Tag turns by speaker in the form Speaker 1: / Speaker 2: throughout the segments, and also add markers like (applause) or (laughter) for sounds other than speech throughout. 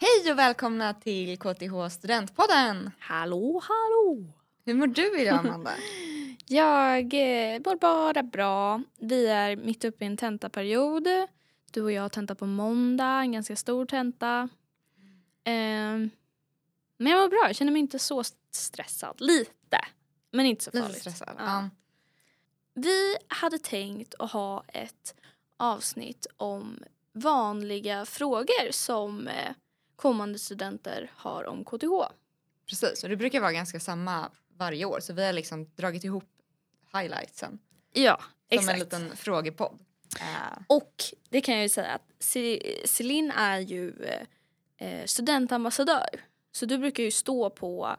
Speaker 1: Hej och välkomna till KTH Studentpodden!
Speaker 2: Hallå, hallå!
Speaker 1: Hur mår du idag
Speaker 2: (laughs)
Speaker 1: Amanda?
Speaker 2: Jag eh, mår bara bra. Vi är mitt uppe i en tentaperiod. Du och jag har tenta på måndag, en ganska stor tenta. Ehm, men jag mår bra, jag känner mig inte så st- stressad. Lite, men inte så
Speaker 1: Lite
Speaker 2: farligt.
Speaker 1: stressad.
Speaker 2: Ja.
Speaker 1: Ja.
Speaker 2: Vi hade tänkt att ha ett avsnitt om vanliga frågor som eh, kommande studenter har om KTH.
Speaker 1: Precis, och det brukar vara ganska samma varje år så vi har liksom dragit ihop highlightsen
Speaker 2: Ja,
Speaker 1: som
Speaker 2: exakt.
Speaker 1: en liten frågepodd. Eh,
Speaker 2: Och det kan jag ju säga att Ce- Celine är ju eh, studentambassadör. Så du brukar ju stå på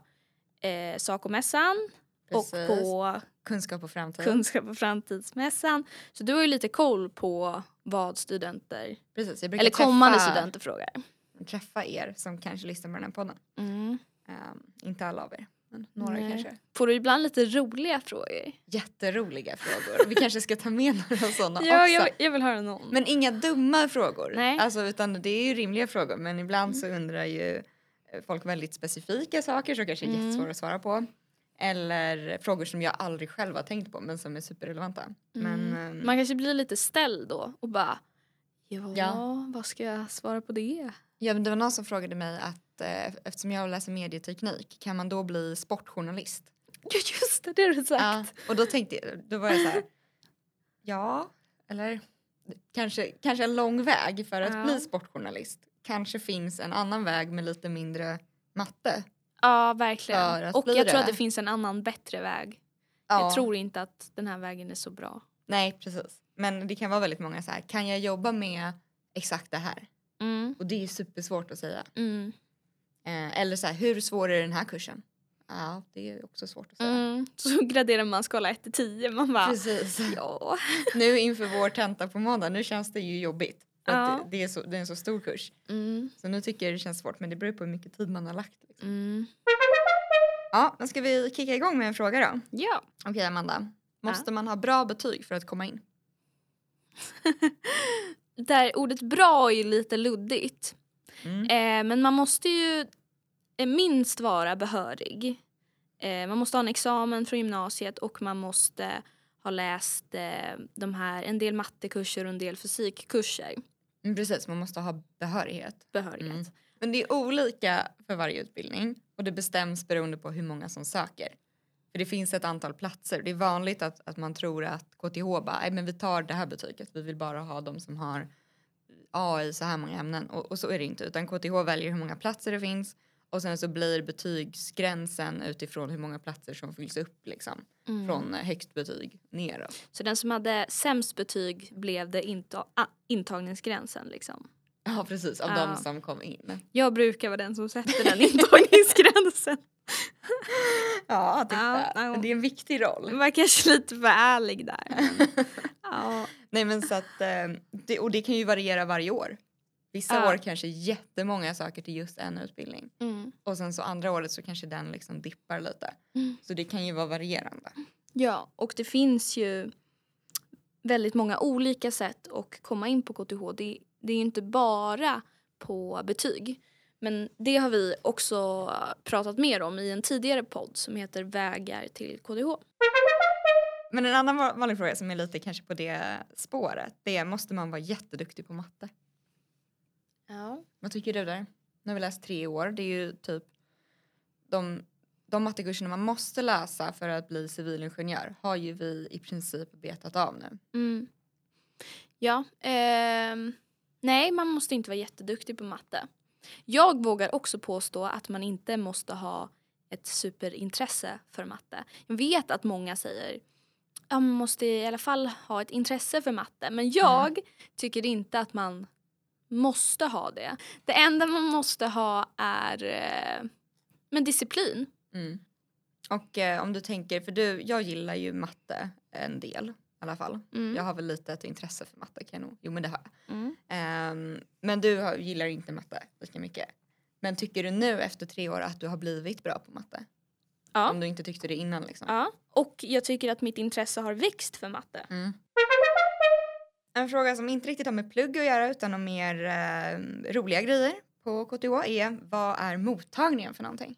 Speaker 2: eh, Sacomässan och
Speaker 1: precis.
Speaker 2: på
Speaker 1: Kunskap och framtid.
Speaker 2: Kunskap och framtidsmässan. Så du har ju lite koll på vad studenter,
Speaker 1: precis, jag brukar
Speaker 2: eller kommande
Speaker 1: träffa,
Speaker 2: studenter frågar.
Speaker 1: träffa er som kanske lyssnar på den här podden. Eh, inte alla av er, men några
Speaker 2: Nej.
Speaker 1: kanske.
Speaker 2: Får du ibland lite roliga frågor?
Speaker 1: Jätteroliga frågor. Vi kanske ska ta med några sådana
Speaker 2: Ja,
Speaker 1: också.
Speaker 2: jag, jag vill höra någon.
Speaker 1: Men inga dumma frågor.
Speaker 2: Nej. Mm.
Speaker 1: Alltså, utan det är ju rimliga frågor. Men ibland så undrar ju eh, folk väldigt specifika saker som kanske är
Speaker 2: Mm.
Speaker 1: jättesvåra att svara på. Eller frågor som jag aldrig själv har tänkt på men som är superrelevanta. Men
Speaker 2: Mm.
Speaker 1: ehm,
Speaker 2: Man kanske blir lite ställd då och bara ja,
Speaker 1: Ja.
Speaker 2: vad ska jag svara på det?
Speaker 1: ja, men det var någon som frågade mig att eh, eftersom jag läser medieteknik kan man då bli sportjournalist?
Speaker 2: Ja, (laughs) just det, det har du sagt.
Speaker 1: Och då tänkte jag, då var jag så
Speaker 2: (laughs)
Speaker 1: här, ja, eller kanske, kanske en lång väg för att
Speaker 2: Ja.
Speaker 1: bli sportjournalist. Kanske finns en annan väg med lite mindre matte.
Speaker 2: Ja,
Speaker 1: För
Speaker 2: verkligen.
Speaker 1: att
Speaker 2: Och
Speaker 1: bli
Speaker 2: jag tror
Speaker 1: det.
Speaker 2: att det finns en annan bättre väg. Jag tror inte att den här vägen är så bra.
Speaker 1: Nej, precis. Men det kan vara väldigt många så här, kan jag jobba med exakt det här?
Speaker 2: Mm.
Speaker 1: Och det är ju supersvårt att säga.
Speaker 2: Mm.
Speaker 1: Eh, eller så här, hur svår är den här kursen? Ja, det är också svårt att säga.
Speaker 2: Mm. Så (laughs) graderar man skala 1 till 10. Man bara,
Speaker 1: Precis.
Speaker 2: ja.
Speaker 1: Nu inför vår tenta på måndag, nu känns det ju jobbigt. För att
Speaker 2: Ja.
Speaker 1: det, det, är så, det är en så stor kurs.
Speaker 2: Mm.
Speaker 1: Så nu tycker jag det känns svårt, men det beror på hur mycket tid man har lagt. Liksom.
Speaker 2: Mm.
Speaker 1: Ja, men ska vi kicka igång med en fråga då?
Speaker 2: Ja.
Speaker 1: Okej, Amanda. Måste man ha bra betyg för att komma in?
Speaker 2: Där ordet bra är ju lite luddigt.
Speaker 1: Mm.
Speaker 2: Eh, men man måste ju eh, minst vara behörig. Eh, man måste ha en examen från gymnasiet och man måste ha läst eh, de här, en del mattekurser och en del fysikkurser.
Speaker 1: Mm, Precis, man måste ha behörighet.
Speaker 2: Behörighet.
Speaker 1: Mm. Men det är olika för varje utbildning och det bestäms beroende på hur många som söker. För det finns ett antal platser. Det är vanligt att, att man tror att KTH bara, "Nej, men vi tar det här betyget, vi vill bara ha de som har A i så här många ämnen. Och, och så är det inte, utan KTH väljer hur många platser det finns och sen så blir betygsgränsen utifrån hur många platser som fylls upp liksom.
Speaker 2: Mm.
Speaker 1: Från högst betyg neråt.
Speaker 2: Så den som hade sämst betyg blev det inte ah, intagningsgränsen liksom.
Speaker 1: Ja precis, av
Speaker 2: Ja.
Speaker 1: de som kom in.
Speaker 2: Jag brukar vara den som sätter (laughs) den intagningsgränsen.
Speaker 1: (laughs) Ja, titta.
Speaker 2: Ja, ja.
Speaker 1: Men det är en viktig roll.
Speaker 2: Jag var kanske lite för ärlig där.
Speaker 1: Mm.
Speaker 2: Men, ja.
Speaker 1: Nej men så att, eh, det, och det kan ju variera varje år. Vissa
Speaker 2: Ja.
Speaker 1: år kanske jättemånga söker till just en utbildning
Speaker 2: Mm.
Speaker 1: och sen så andra året så kanske den liksom dippar lite.
Speaker 2: Mm.
Speaker 1: Så det kan ju vara varierande.
Speaker 2: ja, och det finns ju väldigt många olika sätt att komma in på KTH. Det, det är ju inte bara på betyg. Men det har vi också pratat mer om i en tidigare podd som heter Vägar till KTH.
Speaker 1: Men en annan va- vanlig fråga som är lite kanske på det spåret det är måste man vara jätteduktig på matte?
Speaker 2: Ja.
Speaker 1: Vad tycker du där? Nu har vi läst tre år. Det är ju typ de, de mattekurserna man måste läsa för att bli civilingenjör har ju vi i princip betat av nu.
Speaker 2: Mm. Ja. ehm, nej, man måste inte vara jätteduktig på matte. Jag vågar också påstå att man inte måste ha ett superintresse för matte. Jag vet att många säger ja, man måste i alla fall ha ett intresse för matte. Men jag tycker inte att man måste ha det. Det enda man måste ha är eh, men disciplin.
Speaker 1: Mm. Och eh, om du tänker, för du, jag gillar ju matte en del i alla fall.
Speaker 2: Mm.
Speaker 1: Jag har väl lite ett intresse för matte kan jag nog, jo men det har jag.
Speaker 2: Mm.
Speaker 1: Ehm, men du har, gillar inte matte lika mycket. Men tycker du nu efter tre år att du har blivit bra på matte?
Speaker 2: Ja.
Speaker 1: Om du inte tyckte det innan liksom.
Speaker 2: Ja. Och jag tycker att mitt intresse har växt för matte.
Speaker 1: Mm. En fråga som inte riktigt har med plugg att göra utan om mer eh, roliga grejer. på KTH är vad är mottagningen för någonting?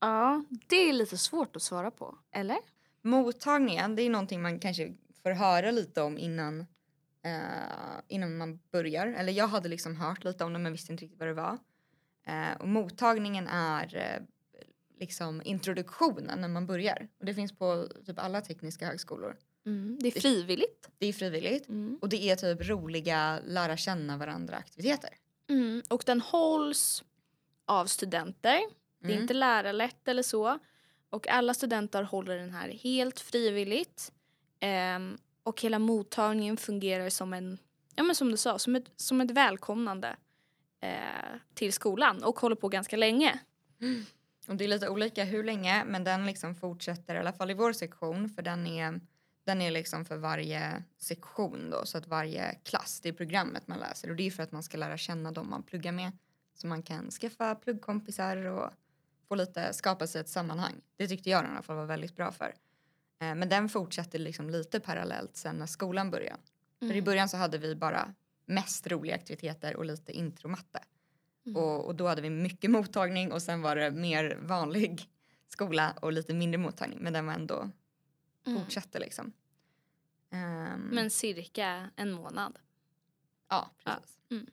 Speaker 2: Ja, det är lite svårt att svara på. Eller?
Speaker 1: Mottagningen det är någonting man kanske får höra lite om innan, eh, innan man börjar. Eller jag hade liksom hört lite om det men visste inte riktigt vad det var. Eh, och mottagningen är eh, liksom introduktionen när man börjar. Och det finns på typ alla tekniska högskolor.
Speaker 2: Mm, Det Mm. är frivilligt.
Speaker 1: Det är frivilligt och det är typ roliga lära känna varandra aktiviteter.
Speaker 2: Mm. Och den hålls av studenter. Det är
Speaker 1: Mm.
Speaker 2: inte lärarlett eller så. Och alla studenter håller den här helt frivilligt. Ehm, och hela mottagningen fungerar som en, ja men som du sa, som ett, som ett välkomnande eh, till skolan och håller på ganska länge.
Speaker 1: Och det är lite olika hur länge men den liksom fortsätter i alla fall i vår sektion för den är, den är liksom för varje sektion då så att varje klass det är programmet man läser och det är för att man ska lära känna dem man pluggar med så man kan skaffa pluggkompisar och få lite skapa sig ett sammanhang. Det tyckte jag i alla fall var väldigt bra för. Eh, Men den fortsatte liksom lite parallellt sen när skolan började.
Speaker 2: Mm.
Speaker 1: För i början så hade vi bara mest roliga aktiviteter och lite intromatte.
Speaker 2: Mm.
Speaker 1: Och, och då hade vi mycket (laughs) mottagning och sen var det mer vanlig (laughs) skola och lite mindre mottagning. Men den var ändå,
Speaker 2: Mm.
Speaker 1: fortsatte liksom. Ehm,
Speaker 2: Men cirka en månad.
Speaker 1: ja, precis.
Speaker 2: ja, mm.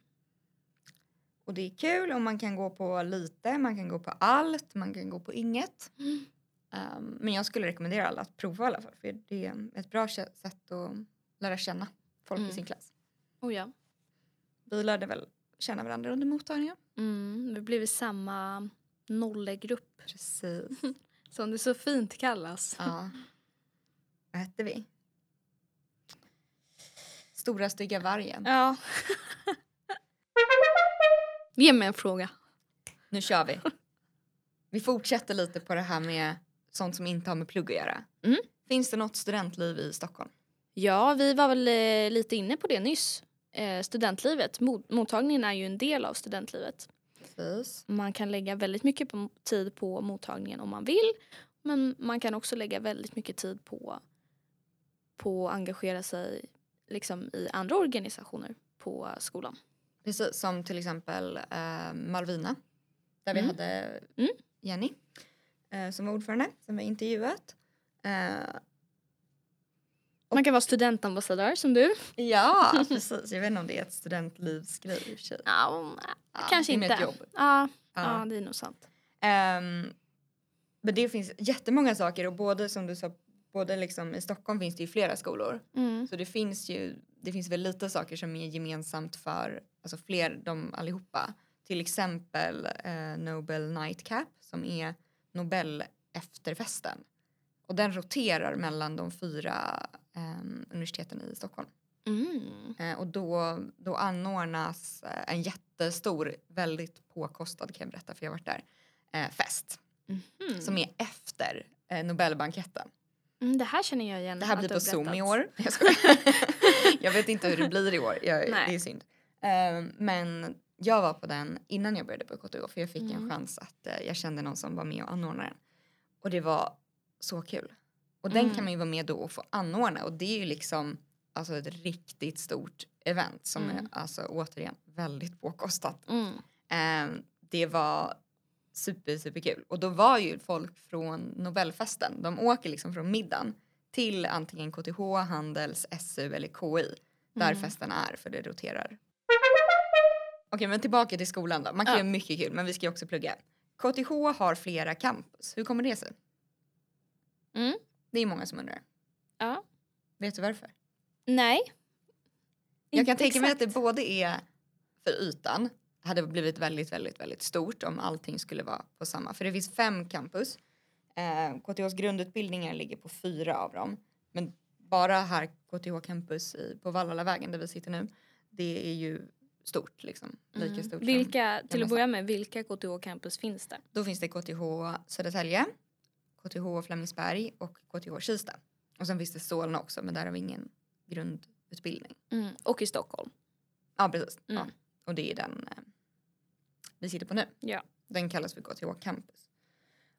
Speaker 1: Och det är kul och man kan gå på lite, man kan gå på allt, man kan gå på inget.
Speaker 2: Mm.
Speaker 1: Ehm, men jag skulle rekommendera alla att prova i alla fall för det är ett bra kä- sätt att lära känna folk
Speaker 2: Mm.
Speaker 1: i sin klass.
Speaker 2: Oh ja.
Speaker 1: Vi lärde väl känna varandra under mottagningen.
Speaker 2: Mm, vi blev i samma nollegrupp
Speaker 1: Precis.
Speaker 2: som det så fint kallas.
Speaker 1: Ja. Vad hette vi? Stora stygga vargen.
Speaker 2: Ja. (laughs) Ge mig en fråga.
Speaker 1: Nu kör vi. Vi fortsätter lite på det här med sånt som inte har med plugg att göra.
Speaker 2: Mm.
Speaker 1: Finns det något studentliv i Stockholm?
Speaker 2: Ja, vi var väl eh, lite inne på det nyss. Eh, studentlivet, mo- mottagningen är ju en del av studentlivet.
Speaker 1: Precis.
Speaker 2: Man kan lägga väldigt mycket på, tid på mottagningen om man vill. Men man kan också lägga väldigt mycket tid på på att engagera sig liksom, i andra organisationer på skolan.
Speaker 1: Precis, som till exempel eh, Malvina. Där vi
Speaker 2: Mm.
Speaker 1: hade
Speaker 2: Mm.
Speaker 1: Jenny eh, som var ordförande, som vi intervjuat. Eh,
Speaker 2: Man kan vara studentambassadör som du.
Speaker 1: ja, precis. Jag vet inte om det är ett studentlivsgrej i och för sig.
Speaker 2: Ja,
Speaker 1: Ja, det är
Speaker 2: kanske inte.
Speaker 1: mer ett jobb.
Speaker 2: Ja,
Speaker 1: Ja.
Speaker 2: ja, det är nog sant.
Speaker 1: Ehm, men det finns jättemånga saker och både som du sa, både liksom i Stockholm finns det ju flera skolor.
Speaker 2: Mm.
Speaker 1: Så det finns ju, det finns väl lite saker som är gemensamt för alltså fler, de allihopa. Till exempel eh, Nobel Nightcap som är Nobel efterfesten. Och den roterar mellan de fyra ehm, universiteten i Stockholm.
Speaker 2: Mm.
Speaker 1: Eh, och då, då anordnas eh, en jättestor, väldigt påkostad kan jag berätta för jag har varit där, eh, fest
Speaker 2: Mm.
Speaker 1: som är efter eh, Nobelbanketten.
Speaker 2: Mm, det här känner jag igen.
Speaker 1: Det här
Speaker 2: att
Speaker 1: blir
Speaker 2: du
Speaker 1: på
Speaker 2: har
Speaker 1: Zoom i
Speaker 2: berättat. (laughs)
Speaker 1: år. Jag, skojar. (laughs) jag vet inte hur det blir i år, jag,
Speaker 2: Nej.
Speaker 1: det är synd. Eh, men jag var på den innan jag började på KTH för jag fick
Speaker 2: Mm.
Speaker 1: en chans att eh, jag kände någon som var med och anordnade den. Och det var så kul. Och den
Speaker 2: Mm.
Speaker 1: kan man ju vara med då och få anordna och det är ju liksom alltså ett riktigt stort event som
Speaker 2: Mm.
Speaker 1: är alltså återigen väldigt påkostat.
Speaker 2: Mm.
Speaker 1: Ehm, det var super, superkul. Och då var ju folk från Nobelfesten. De åker liksom från middagen till antingen KTH, Handels, SU eller KI. Där
Speaker 2: Mm.
Speaker 1: festen är, för det roterar. Okej, men tillbaka till skolan då. Man kan
Speaker 2: Ja.
Speaker 1: göra mycket kul, men vi ska ju också plugga. KTH har flera campus. Hur kommer det sig?
Speaker 2: Mm.
Speaker 1: Det är många som undrar.
Speaker 2: Ja.
Speaker 1: Vet du varför?
Speaker 2: Nej.
Speaker 1: Jag kan
Speaker 2: Inte
Speaker 1: tänka mig att det
Speaker 2: exakt.
Speaker 1: både är för ytan hade blivit väldigt, väldigt, väldigt stort om allting skulle vara på samma. För det finns fem campus. Eh, KTHs grundutbildningar ligger på fyra av dem. Men bara här KTH campus i, på Vallalavägen där vi sitter nu. Det är ju stort liksom. Lika
Speaker 2: Mm.
Speaker 1: stort som.
Speaker 2: Vilka, till
Speaker 1: Gamla
Speaker 2: att börja med, vilka KTH campus finns det?
Speaker 1: Då finns det KTH Södertälje, KTH Flemingsberg och KTH Kista. Och sen finns det Solna också men där har vi ingen grundutbildning.
Speaker 2: Och i Stockholm.
Speaker 1: Ja, precis. Ja.
Speaker 2: Mm.
Speaker 1: Och det är den eh, vi sitter på nu.
Speaker 2: Ja.
Speaker 1: Den kallas för KTH Campus.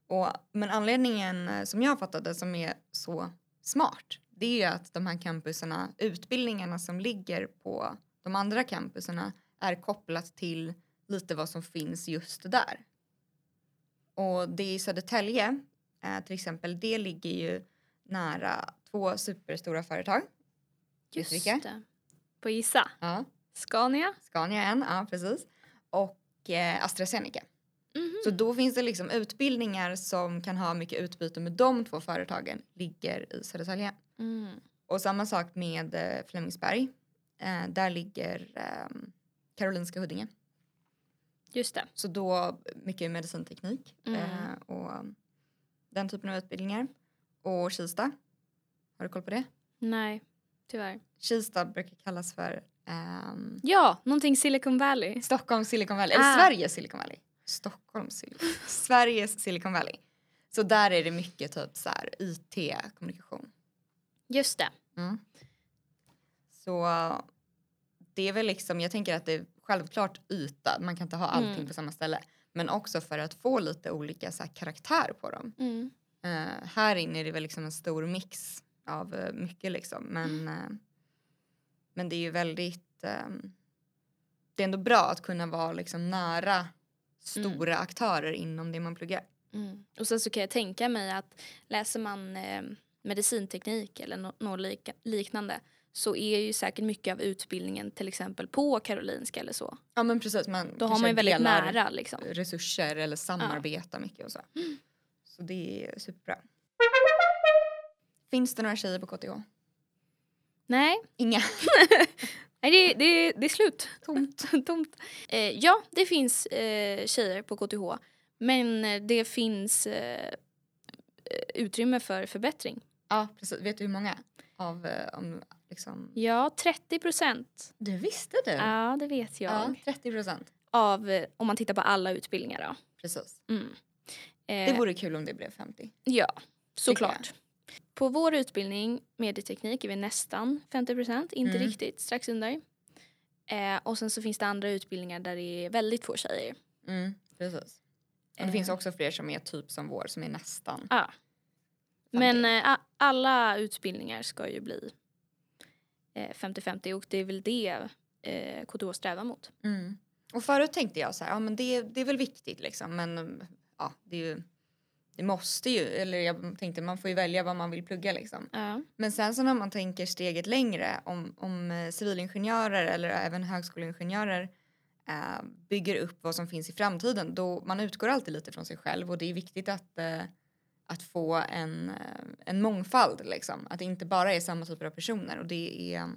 Speaker 1: Och, men anledningen eh, som jag fattade som är så smart det är ju att de här campuserna, utbildningarna som ligger på de andra campuserna är kopplat till lite vad som finns just där. Och det i Södertälje eh, till exempel, det ligger ju nära två superstora företag.
Speaker 2: Just
Speaker 1: Utrike.
Speaker 2: det. På Isa.
Speaker 1: Ja.
Speaker 2: Scania.
Speaker 1: Scania en, ja precis. Och eh, AstraZeneca.
Speaker 2: Mhm.
Speaker 1: Så då finns det liksom utbildningar som kan ha mycket utbyte med de två företagen ligger i Södertälje.
Speaker 2: Mm.
Speaker 1: Och samma sak med eh, Flemingsberg. Eh, där ligger ehm, Karolinska Huddinge.
Speaker 2: Just det.
Speaker 1: Så då mycket medicinteknik
Speaker 2: Mm.
Speaker 1: eh, och den typen av utbildningar. Och Kista. Har du koll på det?
Speaker 2: Nej, tyvärr.
Speaker 1: Kista brukar kallas för ehm,
Speaker 2: Ja, någonting Silicon Valley.
Speaker 1: Stockholms Silicon Valley, eller
Speaker 2: Ah.
Speaker 1: Sveriges Silicon Valley. Stockholms Silicon (laughs) Sveriges Silicon Valley. Så där är det mycket typ så här IT-kommunikation.
Speaker 2: Just det.
Speaker 1: Så det är väl liksom, jag tänker att det är självklart yta, man kan inte ha allting
Speaker 2: Mm.
Speaker 1: på samma ställe. Men också för att få lite olika så här, karaktär på dem.
Speaker 2: Mm.
Speaker 1: Eh, här inne är det väl liksom en stor mix av eh, mycket liksom. Men, eh, men det är ju väldigt, ehm, det är ändå bra att kunna vara liksom nära stora aktörer inom det man pluggar.
Speaker 2: Mm. Och sen så kan jag tänka mig att läser man eh, medicinteknik eller nå- något lika, liknande så är ju säkert mycket av utbildningen till exempel på Karolinska eller så.
Speaker 1: Ja men precis. Man
Speaker 2: Då har
Speaker 1: kanske
Speaker 2: man ju väldigt
Speaker 1: delar
Speaker 2: nära liksom.
Speaker 1: resurser eller samarbetar mycket och så. Så det är superbra. Finns det några tjejer på KTH?
Speaker 2: Nej,
Speaker 1: Inga.
Speaker 2: nej det, det, det är slut.
Speaker 1: Tomt.
Speaker 2: (laughs) Tomt. Eh, ja, det finns eh, tjejer på KTH men eh, det finns eh, utrymme för förbättring.
Speaker 1: (laughs) Ja precis. Vet du hur många? Av eh, om, liksom...
Speaker 2: Ja, 30 procent.
Speaker 1: Du visste du?
Speaker 2: Ja, det vet jag.
Speaker 1: Ja, 30 procent.
Speaker 2: Av, eh, om man tittar på alla utbildningar då.
Speaker 1: Precis.
Speaker 2: Mm. Eh,
Speaker 1: Det vore kul om det blev 50.
Speaker 2: Ja,
Speaker 1: Tycker
Speaker 2: såklart. På vår utbildning, medieteknik, är vi nästan 50 procent. Inte
Speaker 1: Mm.
Speaker 2: riktigt, strax under. Eh, och sen så finns det andra utbildningar där det är väldigt få tjejer.
Speaker 1: Mm, precis. Och det
Speaker 2: Eh.
Speaker 1: finns också fler som är typ som vår som är nästan.
Speaker 2: Ja. Men eh, a- alla utbildningar ska ju bli eh, 50-50 och det är väl det eh, KTH strävar mot.
Speaker 1: Mm. Och förut tänkte jag så här, ja men det, det är väl viktigt liksom men mm, ja det är ju det måste ju, eller jag tänkte man får ju välja vad man vill plugga liksom.
Speaker 2: Ja.
Speaker 1: Men sen så när man tänker steget längre om, om eh, civilingenjörer eller även högskoleingenjörer eh, bygger upp vad som finns i framtiden då man utgår alltid lite från sig själv och det är viktigt att, eh, att få en, eh, en mångfald liksom. Att det inte bara är samma typer av personer och det, är,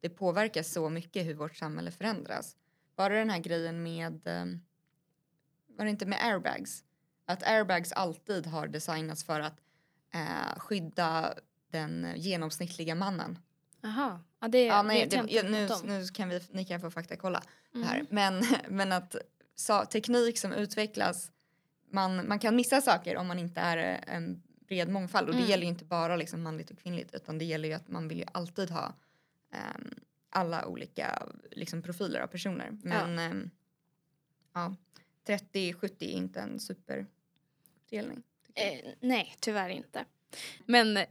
Speaker 1: det påverkar så mycket hur vårt samhälle förändras. Bara den här grejen med, eh, var det inte med airbags? Att airbags alltid har designats för att eh, skydda den eh, genomsnittliga mannen.
Speaker 2: Jaha, ja, det
Speaker 1: Ja, nej,
Speaker 2: vet jag
Speaker 1: det,
Speaker 2: inte
Speaker 1: nu,
Speaker 2: något om.
Speaker 1: nu kan vi, ni kan få faktakolla det
Speaker 2: Mm.
Speaker 1: här. Men, (laughs) men att sa, teknik som utvecklas, man, man kan missa saker om man inte är eh, en bred mångfald. Och det
Speaker 2: Mm.
Speaker 1: gäller ju inte bara liksom manligt och kvinnligt utan det gäller ju att man vill ju alltid ha ehm, alla olika liksom, profiler av personer. Men ehm, ja, 30-70 är inte en superdelning. tycker jag.
Speaker 2: Eh, nej, tyvärr inte. Men eh,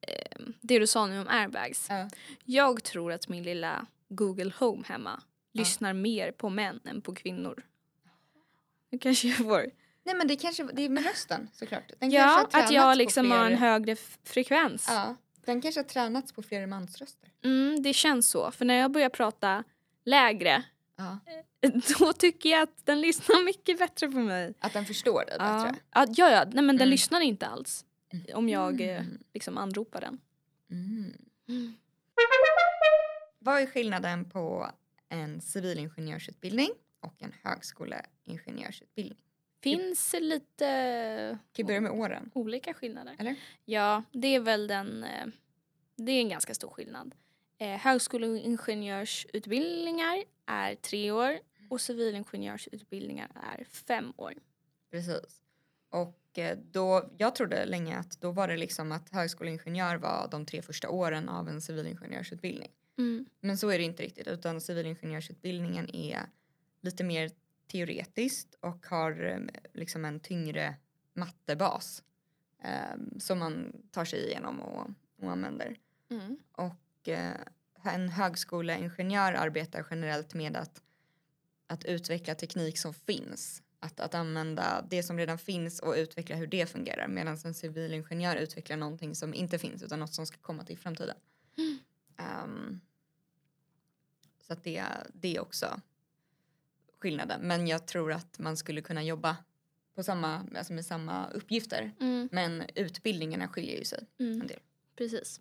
Speaker 2: eh, det du sa nu om airbags.
Speaker 1: Ja.
Speaker 2: Jag tror att min lilla Google Home hemma
Speaker 1: Ja.
Speaker 2: lyssnar mer på män än på kvinnor. Nu kanske jag får...
Speaker 1: Nej men det kanske det är med rösten såklart. Den
Speaker 2: Ja,
Speaker 1: kanske har
Speaker 2: att
Speaker 1: tränats
Speaker 2: jag
Speaker 1: på
Speaker 2: liksom har en
Speaker 1: fler-
Speaker 2: högre f- frekvens.
Speaker 1: Ja, den kanske har tränats på fler mansröster.
Speaker 2: Mm, det känns så. För när jag börjar prata lägre (laughs)
Speaker 1: Ja.
Speaker 2: då tycker jag att den lyssnar mycket bättre på mig.
Speaker 1: Att den förstår dig
Speaker 2: Ja,
Speaker 1: bättre.
Speaker 2: ja, ja. Nej, men den
Speaker 1: Mm.
Speaker 2: lyssnar inte alls om jag eh,
Speaker 1: Mm.
Speaker 2: liksom anropar den.
Speaker 1: Mm. Vad är skillnaden på en civilingenjörsutbildning och en högskoleingenjörsutbildning? Typ.
Speaker 2: Finns lite
Speaker 1: Kan vi börja med åren?
Speaker 2: olika skillnader.
Speaker 1: Eller?
Speaker 2: Ja, det är väl den... eh, Det är en ganska stor skillnad. Eh, högskoleingenjörsutbildningar är tre år och civilingenjörsutbildningar är fem år.
Speaker 1: Precis. Och eh, då, jag trodde länge att då var det liksom att högskoleingenjör var de tre första åren av en civilingenjörsutbildning. Men så är det inte riktigt utan civilingenjörsutbildningen är lite mer teoretiskt och har eh, liksom en tyngre mattebas eh, som man tar sig igenom och, och använder. Mm. Och eh, en högskoleingenjör arbetar generellt med att att utveckla teknik som finns. Att, att använda det som redan finns och utveckla hur det fungerar medan en civilingenjör utvecklar någonting som inte finns utan något som ska komma till i framtiden. Ehm, så att det, det är också skillnaden. Men jag tror att man skulle kunna jobba på samma, alltså med samma uppgifter.
Speaker 2: Mm,
Speaker 1: Men utbildningarna skiljer ju sig
Speaker 2: mm,
Speaker 1: en del.
Speaker 2: precis.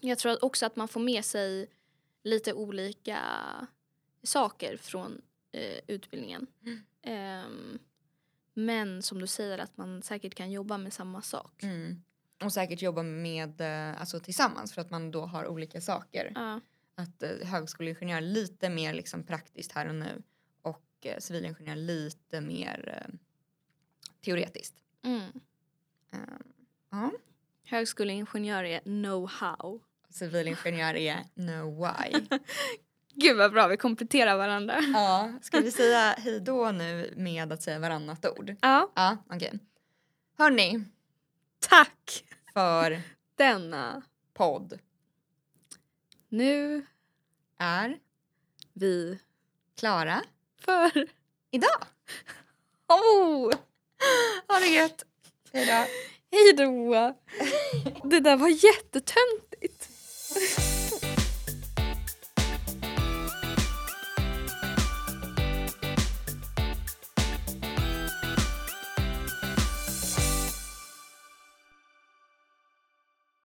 Speaker 2: Jag tror att också att man får med sig lite olika saker från eh, utbildningen.
Speaker 1: Mm.
Speaker 2: Ehm, men som du säger att man säkert kan jobba med samma sak.
Speaker 1: Mm. Och säkert jobba med, eh, alltså tillsammans för att man då har olika saker.
Speaker 2: Ja,
Speaker 1: Att eh, högskoleingenjör lite mer liksom praktiskt här och nu och eh, civilingenjör lite mer eh, teoretiskt.
Speaker 2: mm.
Speaker 1: Eh, ja.
Speaker 2: Högskoleingenjör är know-how.
Speaker 1: Civilingenjör är no why. (laughs)
Speaker 2: Gud vad bra, vi kompletterar varandra.
Speaker 1: ja, ska vi säga hej då nu med att säga varannat ord?
Speaker 2: Ja,
Speaker 1: Ja, okej. Hörni,
Speaker 2: tack
Speaker 1: för
Speaker 2: denna.
Speaker 1: podd
Speaker 2: Nu
Speaker 1: är
Speaker 2: vi
Speaker 1: Klara.
Speaker 2: för
Speaker 1: Idag.
Speaker 2: (laughs) Oh!
Speaker 1: Ha det gött. Hej då.
Speaker 2: Hej då! Det där var jättetöntigt.